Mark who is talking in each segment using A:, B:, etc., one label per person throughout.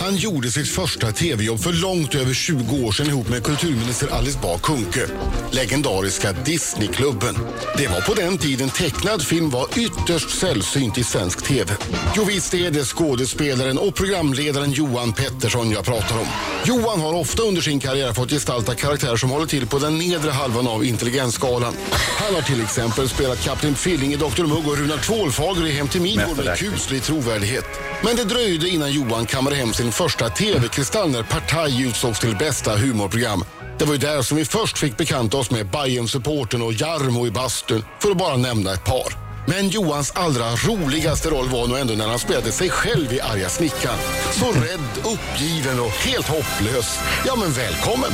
A: Han gjorde sitt första tv-jobb för långt över 20 år sedan ihop med kulturminister Alice Bah Kuhnke. Legendariska Disneyklubben. Det var på den tiden tecknad film var ytterst sällsynt i svensk tv. Jo visst är det skådespelaren och programledaren Johan Pettersson jag pratar om. Johan har ofta under sin karriär fått gestalta karaktärer som håller till på den nedre halvan av intelligensskalan. Han har till exempel spelat Kapten Filling i Dr Mugg och Runar Tvålfager i Hem till Midgård med kuslig trovärdighet. Men det dröjde innan Johan kammade hem sin första TV-kristall när Partaj utsågs till bästa humorprogram. Det var ju där som vi först fick bekanta oss med bayern supporten och Jarmo i bastun, för att bara nämna ett par. Men Johans allra roligaste roll var nog ändå när han spelade sig själv i Arga snickaren. Så rädd, uppgiven och helt hopplös. Ja, men välkommen!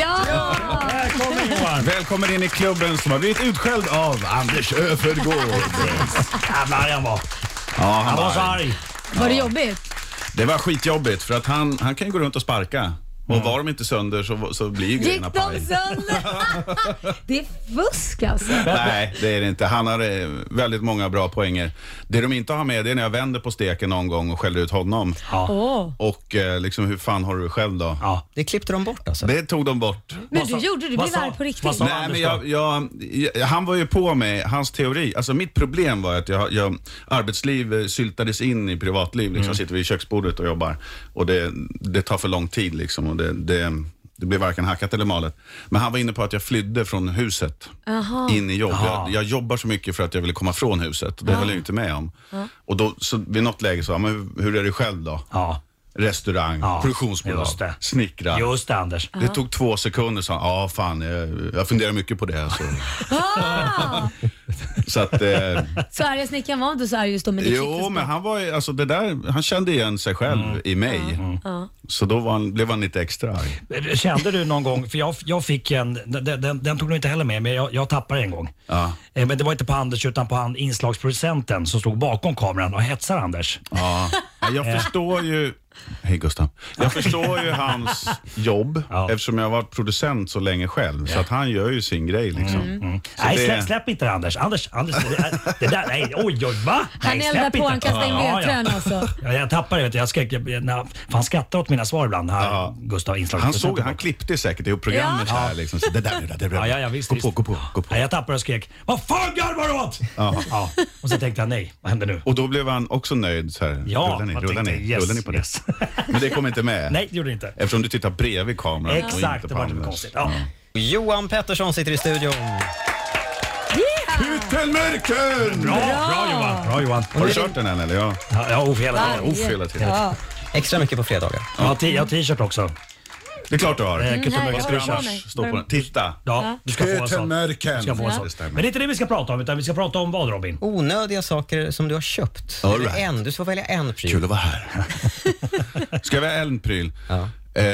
B: Ja!
C: Välkommen Johan! Välkommen in i klubben som har blivit utskälld av Anders Öfvergård. Jävlar arg han var. Ja, han, var så arg.
B: Var det jobbigt?
C: Det var skitjobbigt för att han, han kan ju gå runt och sparka. Och var de inte sönder så, så blir ju
B: Gick
C: grejerna
B: de
C: paj.
B: sönder? Det är fusk alltså.
C: Nej, det är det inte. Han har eh, väldigt många bra poänger. Det de inte har med det är när jag vänder på steken någon gång och skäller ut honom.
B: Åh.
C: Och eh, liksom, hur fan har du det själv då?
D: Ja. Det klippte de bort alltså.
C: Det tog de bort.
B: Men
E: Vad
B: du
E: sa-
B: gjorde det, du
E: vad
B: blev
E: sa-
B: arg på riktigt.
E: vad sa-
C: Nej, men
E: Anders
C: jag, jag, jag, han var ju på mig, hans teori. Alltså mitt problem var att jag, jag, arbetsliv eh, syltades in i privatliv. Liksom.
E: Mm.
C: Jag sitter vid köksbordet och jobbar och det, det tar för lång tid. Liksom, och det, det, det blir varken hackat eller malet. Men han var inne på att jag flydde från huset in i jobb. Jag, jag jobbar så mycket för att jag ville komma från huset. Det höll jag ju inte med om. Och då, så vid något läge sa jag, men hur, hur är det själv då?
E: Ja.
C: Restaurang,
E: Ja,
C: produktionsbolag,
E: just det.
C: snickra.
E: Just det Anders.
C: Det tog två sekunder, sa han. Ja, fan, jag, jag funderar mycket på det. Alltså.
B: Ah!
C: Så att, eh,
B: Så arga snickaren var inte så arg just då, men det liksom.
C: jo,
B: klipptes
C: men
B: bort.
C: han var ju- alltså det där, han kände igen sig själv
E: Mm.
C: i mig. Så då var han, blev han lite extra arg.
E: Kände du någon gång, för jag, jag fick en, den, den, den tog du inte heller med, men jag, jag tappade en gång.
C: Ja.
E: Eh, Men det var inte på Anders utan på han, inslagsproducenten som stod bakom kameran och hetsar Anders.
C: Ja. Ja, Jag förstår ju... Hej Gustav. Jag förstår ju hans jobb
E: Ja.
C: eftersom jag har varit producent så länge själv. Så att han gör ju sin grej
E: Mm,
C: liksom. Så
E: nej,
C: det-
E: släpp, släpp inte det Anders. Anders, Anders det, det där, nej, oj, oj, va?
B: Han
E: nej,
B: eldar
E: släpp
B: på,
E: inte.
B: han kastar in
E: Ja, ja.
B: vedträn alltså.
E: Ja, jag tappar det. vet du. Jag skrek, jag, jag, han skrattar åt mina svar ibland, här,
C: Ja.
E: Gustav,
C: Han
E: inslagsproducenten.
C: såg, han klippte säkert ihop programmet
B: Ja.
C: här liksom. Så det där, det där, det där.
E: Ja, ja, ja, visst,
C: gå på,
E: visst.
C: gå på, gå på.
E: Nej, jag tappade och skrek Vad fan garvar du åt? Ja. Och så tänkte jag nej, vad händer nu?
C: Och då blev han också nöjd. Så här,
E: Ja,
C: rullar ni,
E: jag
C: rullar ni,
E: tänkte, yes,
C: rullar ni på det?
E: yes.
C: Men det kom inte med.
E: Nej, det gjorde det inte.
C: Eftersom du tittar bredvid kameran och inte
E: Exakt,
C: på
E: det var lite
C: Anders.
E: konstigt. Ja.
D: Johan Pettersson sitter i studion.
C: Hyttelmärken!
E: Bra, bra Johan! Bra, Johan.
C: Har du kört den än eller? Ja.
E: Ja, jag har off hela tiden.
C: Off hela tiden.
B: Ja.
D: Extra mycket på fredagar.
E: Jag har t- jag har t-shirt också.
C: Det är klart du har. Mm,
E: Eh,
B: Nej,
E: Kutumöga
B: jag
C: Ska du
B: har
E: Screenshot.
B: på mig.
C: annars stå på den? Titta!
E: Ja, du ska få en sån.
C: Hyttelmärken!
E: Du ska få en
C: Ja.
E: sån.
C: Det stämmer.
E: Men det är inte det vi ska prata om, utan vi ska prata om vad Robin?
D: Onödiga saker som du har köpt.
C: All
D: Eller
C: right.
D: en. Du ska välja en pryl.
C: Kul att vara här. Ska vi ha en pryl?
D: Ja.
C: Eh,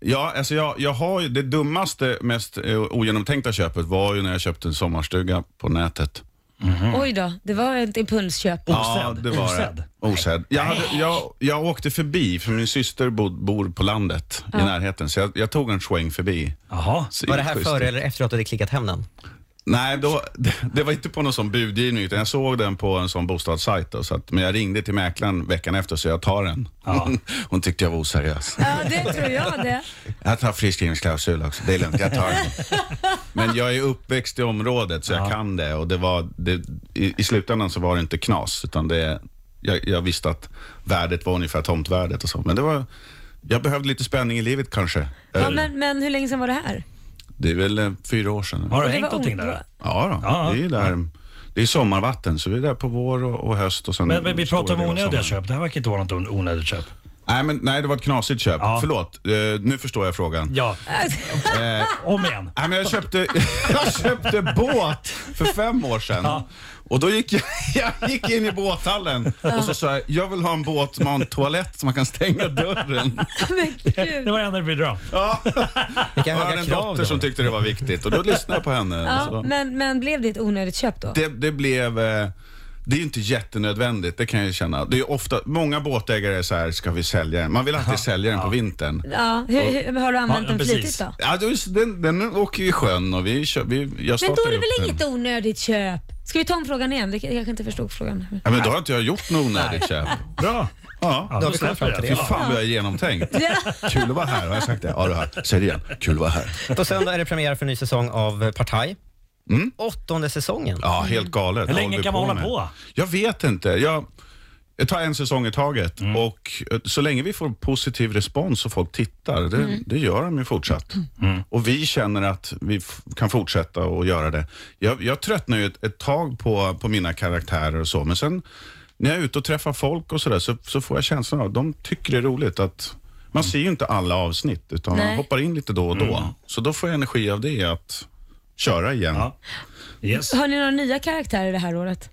C: ja, alltså jag, jag har ju det dummaste, mest eh, ogenomtänkta köpet var ju när jag köpte en sommarstuga på nätet.
E: Mm.
B: Oj då, det var ett impulsköp.
E: Osedd?
C: det var
E: Osedd?
C: det. Osedd. Jag, hade, jag, jag åkte förbi, för min syster bod, bor på landet i närheten, så jag, jag tog en sväng förbi.
E: Jaha.
C: Så
D: Var det här
C: schysst.
D: före eller efter att du hade klickat hem den?
C: Nej, då, det, det var inte på någon sån budgivning, utan jag såg den på en sån bostadssajt. Då, så att, men jag ringde till mäklaren veckan efter, så jag tar den. Hon tyckte jag var oseriös.
B: Ja, det tror jag det.
C: Jag tar friskrivningsklausul också, det är lugnt, jag tar den. Men jag är uppväxt i området, så jag kan det. Och det var, det, i, I slutändan så var det inte knas, utan det, jag, jag visste att värdet var ungefär tomtvärdet och så. Men det var, jag behövde lite spänning i livet kanske. Eh,
B: Ja, men, men hur länge sedan var det här?
C: Det är väl eh, fyra år sedan.
E: Har du
B: Det
E: hängt
B: var
E: någonting där?
B: obra-
C: Ja, då.
E: Ja, ja.
C: det är ju där. Det är sommarvatten, så vi är där på vår och, och höst. Och sen
E: Men, men vi
C: stora
E: pratar om
C: delar av
E: onödiga
C: sommaren.
E: köp. Det här verkar inte vara något on- onödigt köp.
C: Nej, men, nej, det var ett knasigt köp.
E: Ja.
C: Förlåt, eh, nu förstår jag frågan. Eh,
E: Ja, om igen.
C: Nej, men jag, köpte, jag köpte båt för fem år sedan. Och då gick jag, jag gick in i båthallen och så sa jag, jag vill ha en båt som har en toalett som man kan stänga dörren.
B: Men
E: Det
B: gud.
E: var det enda vi ville dra.
C: Ja. Jag
D: Vilka
C: hade
D: höga
C: en
D: krav
C: dotter
D: då.
C: som tyckte det var viktigt och då lyssnade jag på henne. och
B: Ja,
C: så.
B: men, men blev det ett onödigt köp då?
C: Alltså. det, det blev... eh, Det är ju inte jättenödvändigt, det kan jag ju känna. Det är ofta, många båtägare är så här, ska vi sälja den? Man vill alltid sälja den på vintern.
B: Ja, hur, hur, har du använt
E: Ja,
B: den
E: precis.
B: flitigt då?
C: Ja, då är- den, den åker ju i sjön och vi, kö- vi jag
B: Men
C: startar
B: då är det
C: upp
B: väl
C: den.
B: inget onödigt köp? Ska vi ta om frågan igen? Det- Jag kanske inte förstod frågan.
C: Ja, men då har inte jag gjort något onödigt köp.
E: Bra.
C: Ja.
E: Ja,
D: Då har
E: då
D: vi kommit fram
E: släpper det.
D: till det.
C: Fy fan vad jag är genomtänkt. Kul att vara här. Har jag sagt det? Ja, du har. Säg det igen. Kul att vara här.
D: På söndag är det premiär för en ny säsong av eh, Partaj.
C: Mm.
D: Åttonde säsongen.
C: Ja, helt galet.
E: Hur
C: Vad
E: länge
C: håller vi
E: kan man hålla
C: med?
E: på?
C: Jag vet inte. Jag, jag tar en säsong i taget
E: Mm.
C: och eh, så länge vi får positiv respons och folk tittar, det,
E: Mm.
C: det gör de ju fortsatt. Och vi känner att vi f- kan fortsätta och göra det. Jag, jag tröttnar ju ett, ett tag på, på mina karaktärer och så, men sen när jag är ute och träffar folk och sådär så, så får jag känslan av att de tycker det är roligt att man ser ju inte alla avsnitt utan man
B: Nej.
C: hoppar in lite då och
E: Mm.
C: då. Så då får jag energi av det att köra igen.
E: Ja. Yes.
B: Har ni några nya karaktärer det här året?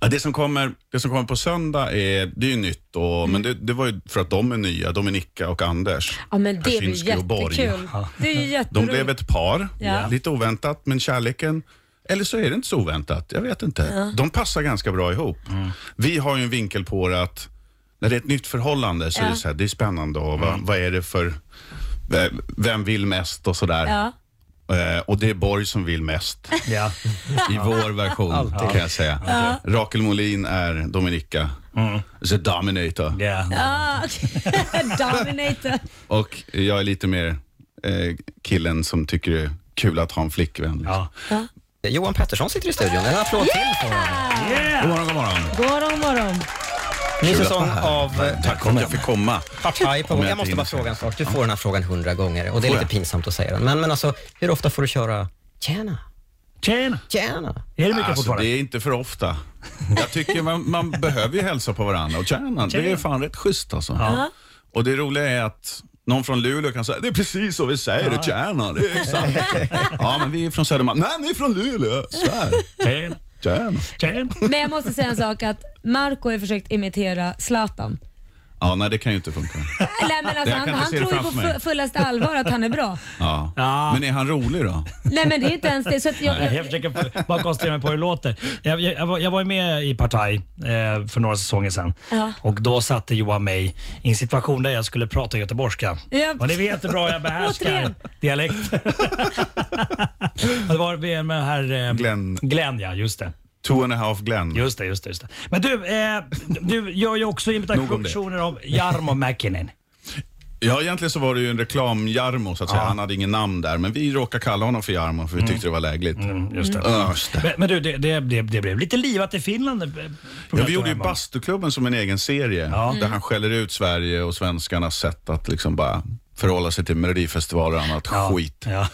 C: Ja, det, som kommer, det som kommer på söndag är, det är ju nytt, och,
B: Mm.
C: men det, det var ju för att de är nya, de är Nicka och Anders.
B: Ja men det är ju
C: Kaczynski och Borg.
B: jättekul. Det är ju
C: De
B: jätteroligt.
C: blev ett par,
B: Ja.
C: lite oväntat, men kärleken eller så är det inte så oväntat. Jag vet inte. De passar ganska bra ihop. Vi har ju en vinkel på det att när det är ett nytt förhållande så är
B: Ja.
C: det, så här, det är spännande. Och vad, vad är det för... v- Vem vill mest och sådär.
B: Ja.
C: Eh, och det är Borg som vill mest
E: Ja.
C: i vår version kan jag säga. Rakel Molin är Dominika. The Dominator.
E: Mm. Ja.
B: Ah, okej. Dominator.
C: Och jag är lite mer eh, killen som tycker det är kul att ha en flickvän. Liksom.
E: Ja.
D: Johan Pettersson sitter i studion. En applåd till för honom.
C: God morgon, god morgon.
B: God morgon.
D: Ny
C: Kul att
D: säsong
C: vara här.
D: av eh,
C: Tack för att jag fick komma.
D: Partaj på
C: Om
D: gång.
C: jag
D: Jag måste
C: inte
D: bara
C: inser.
D: fråga en sak. Du får den här frågan hundra gånger och det är
C: Får
D: lite
C: jag?
D: pinsamt att säga den. Men, men alltså, hur ofta får du köra tjäna,
E: Tjena!
D: tjäna?
E: Är det mycket
C: Alltså, det
E: fortfarande?
C: är inte för ofta. Jag tycker man, man behöver ju hälsa på varandra och tjäna. Det är fan rätt schysst alltså. Och det roliga är att någon från Luleå kan säga, det är precis så vi säger det, tjäna. Det är exakt. Ja, men vi är från Södermalm. Nej, ni är från Luleå. Svär.
E: Tjena!
C: Tjäna.
E: Tjena!
B: Men jag måste säga en sak att Marco har försökt imitera Zlatan.
C: Ja, nej det kan ju inte funka.
B: Nej, men alltså,
C: Jag kan
B: han
C: inte
B: han
C: se det
B: tror ju på
C: framför mig.
B: fu- fullaste allvar att han är bra.
C: Ja.
E: Ja.
C: Men är han rolig då?
B: Nej men det är inte ens det. Så att jag,
E: Jag försöker bara koncentrera mig på hur det låter. Jag, jag, jag, var, jag var ju med i Partaj eh, för några säsonger sedan.
B: Ja.
E: Och då satte Johan mig i en situation där jag skulle prata göteborgska.
B: Ja.
E: Och ni vet hur bra jag behärskar
B: Återigen.
E: dialekt. det var med med den här... Eh,
C: Glenn.
E: Glenn ja, just det.
C: Two and a half Glenn.
E: Just det, just det. Just det. Men du, eh, du gör ju också
C: Nog om det.
E: imitationer av Jarmo Mäkinen.
C: Ja, egentligen så var det ju en reklam-Jarmo så att säga. Han hade ingen namn där, men vi råkade kalla honom för Jarmo för vi tyckte det var lägligt. Öh.
E: Mm, just det.
C: Öst.
E: Men, men du, det, det, det, det blev lite livat i Finland. eh, på
C: Ja, vi gjorde ju
E: restaurangen.
C: Bastuklubben som en egen serie där
E: Mm.
C: han skäller ut Sverige och svenskarnas sätt att liksom bara förhålla sig till Melodifestivaler och annat
E: Ja,
C: skit.
E: Ja.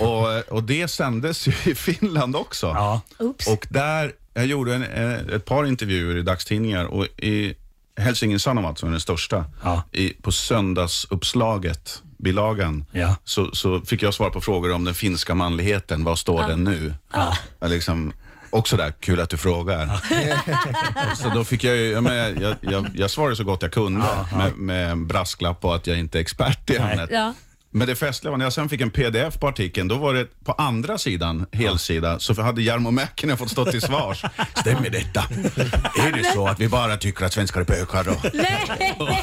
C: Och, och det sändes ju i Finland också.
E: Ja.
B: Oops.
C: Och där, jag gjorde en, eh, ett par intervjuer i dagstidningar och i Helsingin Sanomat, som är den största,
E: Ja.
C: i, på söndagsuppslaget, bilagan,
E: Ja.
C: så, så fick jag svar på frågor om den finska manligheten. Vad står den nu? Jag liksom, också där, kul att du frågar. så då fick jag, ju- ja, men jag, jag, jag, jag svarade så gott jag kunde Med, med en brasklapp på att jag inte är expert i ämnet.
B: Ja.
C: Men det festliga var när jag sen fick en pdf på artikeln, då var det på andra sidan, helsida, så hade Jarmo Mäkinen fått stå till svars. Stämmer detta? Är det så att vi bara tycker att svenskar är bögar då?
B: Nej.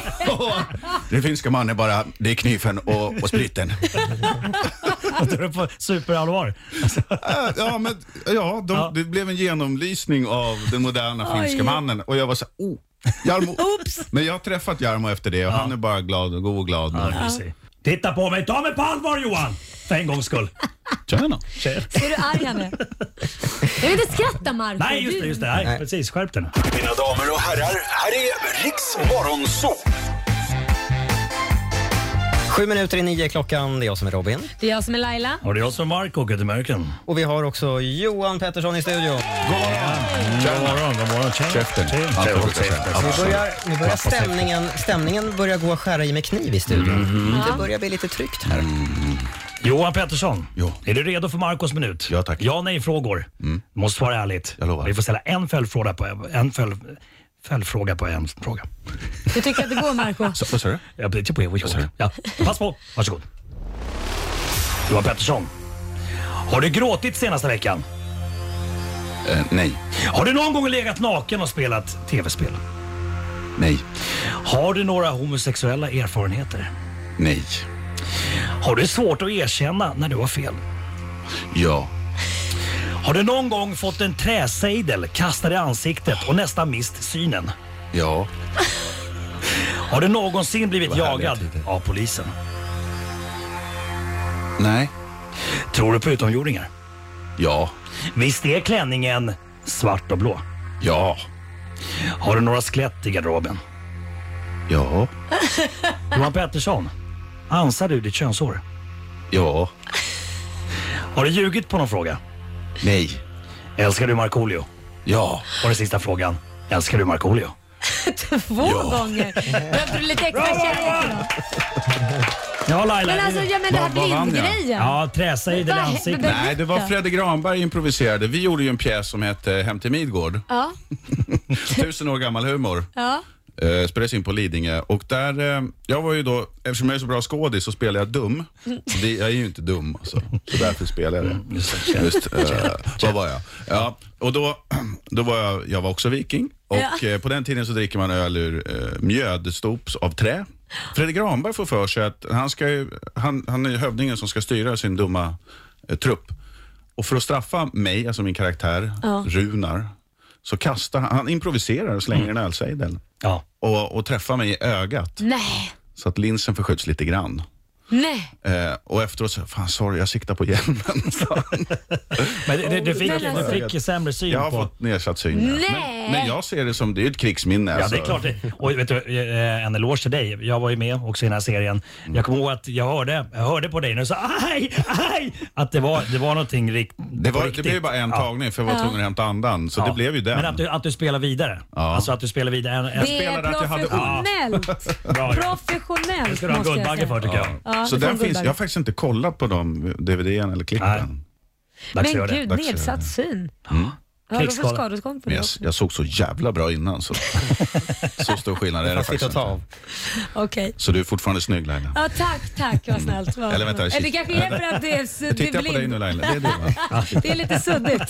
C: Den finska mannen bara, det är kniven och, och spriten.
E: Att du är på superallvar. Alltså,
C: Äh, Ja, men ja, de, det blev en genomlysning av den moderna
B: Oj.
C: finska mannen och jag var så här, oh, Jarmo.
B: Oops.
C: Men jag har träffat Jarmo efter det och han är bara glad och god och glad.
E: Ja. Titta på mig, ta mig på allvar Johan! För en gångs skull.
C: Tjena.
B: Ser du arg han är? Jag vill inte skratta Marco.
E: Nej, just det, just det. Nej, precis. Skärp dig nu.
F: Mina damer och herrar, här är Riks Morgonzoo!
D: Sju minuter i nio klockan, det är jag som är Robin.
B: Det är jag som är Laila.
E: Och det är jag som är Marco Guttemörken.
D: Och vi har också Johan Pettersson i studion.
E: God morgon, god morgon. Tjena.
C: Käften.
E: Tjena.
C: Allt jag brukar säga.
D: Nu
C: Absolut.
D: börjar, nu börjar stämningen, stämningen börjar gå att skära i med kniv i studion. Det börjar bli lite tryckt här.
E: Johan Pettersson,
C: Ja.
E: är du redo för Marcos minut?
C: Ja, tack. Mm.
E: Ja nej-frågor. Du måste svara ärligt.
C: Jag lovar.
E: Vi får ställa en följdfråga på en följd, följdfråga på en fråga.
B: Hur tycker du att det går Marco?
C: Så- Vad sa du?
E: Jag blir typ på Ja, Pass på. Varsågod. Johan Pettersson. Har du gråtit senaste veckan?
C: Eh, nej.
E: Har du någon gång legat naken och spelat tv-spel?
C: Nej.
E: Har du några homosexuella erfarenheter?
C: Nej.
E: Har du svårt att erkänna när du har fel?
C: Ja.
E: Har du någon gång fått en träsejdel kastad i ansiktet och nästan mist synen?
C: Ja.
E: Har du någonsin blivit
G: Vad härliga
E: jagad
G: tider.
E: av polisen?
C: Nej.
E: Tror du på utomjordingar?
C: Ja.
E: Visst är klänningen svart och blå?
C: Ja.
E: Har du några skelett i garderoben?
C: Ja.
E: Johan Pettersson, ansar du ditt könshår?
C: Ja.
E: Har du ljugit på någon fråga?
C: Nej.
E: Älskar du Markoolio?
C: Ja.
E: Och den sista frågan, älskar du Markoolio?
B: Två gånger. Behöver du lite extra kärlek idag?
E: Ja Laila.
B: Men alltså, ja, men det här
C: Vad- vad vann jag?
B: blindgrejen.
E: Ja, träsa i den
B: Vad-
E: ansiktet.
B: vad-
C: Nej, det var Fredde Granberg improviserade. Vi gjorde ju en pjäs som hette Hem till Midgård.
B: Ja,
C: Tusen år gammal humor.
B: ja.
C: Eh, spelades in på Lidingö och där, eh, jag var ju då, eftersom jag är så bra skådis så spelar jag dum. Det, jag är ju inte dum alltså, så därför spelar jag det.
E: Mm, Just det.
C: Just, eh, vad var jag? Ja, och då, då var jag, jag var också viking och
B: Ja.
C: eh, på den tiden så dricker man öl ur eh, mjödstops av trä. Fredrik Granberg får för sig att han, ska ju, han, han är ju hövdingen som ska styra sin dumma eh, trupp. Och för att straffa mig, alltså min karaktär, Runar, så kastar han, han improviserar och slänger en ölsejdel
E: Ja.
C: och, och träffar mig i ögat
B: Nej,
C: så att linsen förskjuts lite grann.
B: nej.
C: Eh, och efteråt så, fan sorry, jag siktar på hjälmen. sa han.
E: Men du, du, fick,
B: Men alltså-
E: du fick ju sämre syn
C: jag har
E: på...
C: fått nedsatt syn. ja.
B: Nej.
C: Men, men jag ser det som, det är ju ett krigsminne.
E: Ja,
C: alltså.
E: det är klart. det. Och vet du, eh, en eloge till dig. Jag var ju med också i den här serien.
C: Mm.
E: Jag kommer ihåg att jag hörde, jag hörde på dig när du sa aj, aj, att det var, det var någonting rikt,
C: Det,
E: på
C: var, det
E: riktigt.
C: blev ju bara en
E: Ja,
C: tagning för jag var tvungen att hämta andan. Så
E: ja.
C: det blev ju den.
E: Men att du, att du spelar vidare. Alltså att du spelar vidare. En, en
B: Det är
C: spelade att jag hade
B: professionellt.
E: Bra.
B: Professionellt
E: Det ska du ha en
B: måste jag
E: Guldbagge
B: säga.
E: för tycker jag.
B: Ja,
C: så
B: du får
C: den
B: en
C: finns,
B: Guldbagge.
C: jag har faktiskt inte kollat på de DVD-erna eller klippen.
E: Dags att
B: Men
E: göra det.
B: gud,
C: Dags att göra Mm.
B: nedsatt syn. Ja, då får
E: Krigsskada.
B: skadestånd på
C: Men
B: det.
C: jag, jag såg så jävla bra innan så, så stor skillnad är det
D: Fast lite
C: faktiskt
D: att ta av.
C: inte.
B: Okej.
C: Så du är fortfarande snygg Laila.
B: Ja, tack, tack. Vad snällt. Vad-
C: Eller vänta, shit.
B: det kanske är för att det är,
C: Jag
B: det
C: tittar
B: är
C: på dig nu
B: blind.
C: Laila, det är du va?
B: Det är lite suddigt.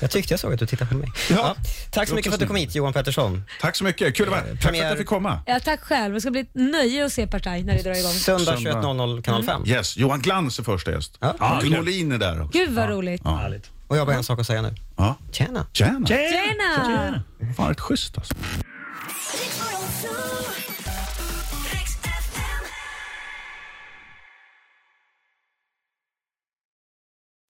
D: Jag tyckte jag såg att du tittade på mig. Ja. Tack så mycket för att du kom hit Johan Pettersson.
C: Tack så mycket, kul att vara här. Tack för att jag fick komma.
B: Ja, tack själv. Det ska bli ett nöje att se Partaj när det drar igång.
D: Söndag
C: Söndag.
D: 21.00 kanal 5.
C: Yes, Johan Glans är första gäst.
D: Ja.
E: Ja,
C: Martin
E: kul.
C: Olin är där också.
B: Gud vad roligt.
C: Ja.
E: Härligt.
D: Och jag har bara en sak att säga nu.
C: Ja.
D: Tjena.
C: Tjena.
E: Tjena!
B: Tjena!
C: Fan, rätt schysst alltså.
H: Rick 102.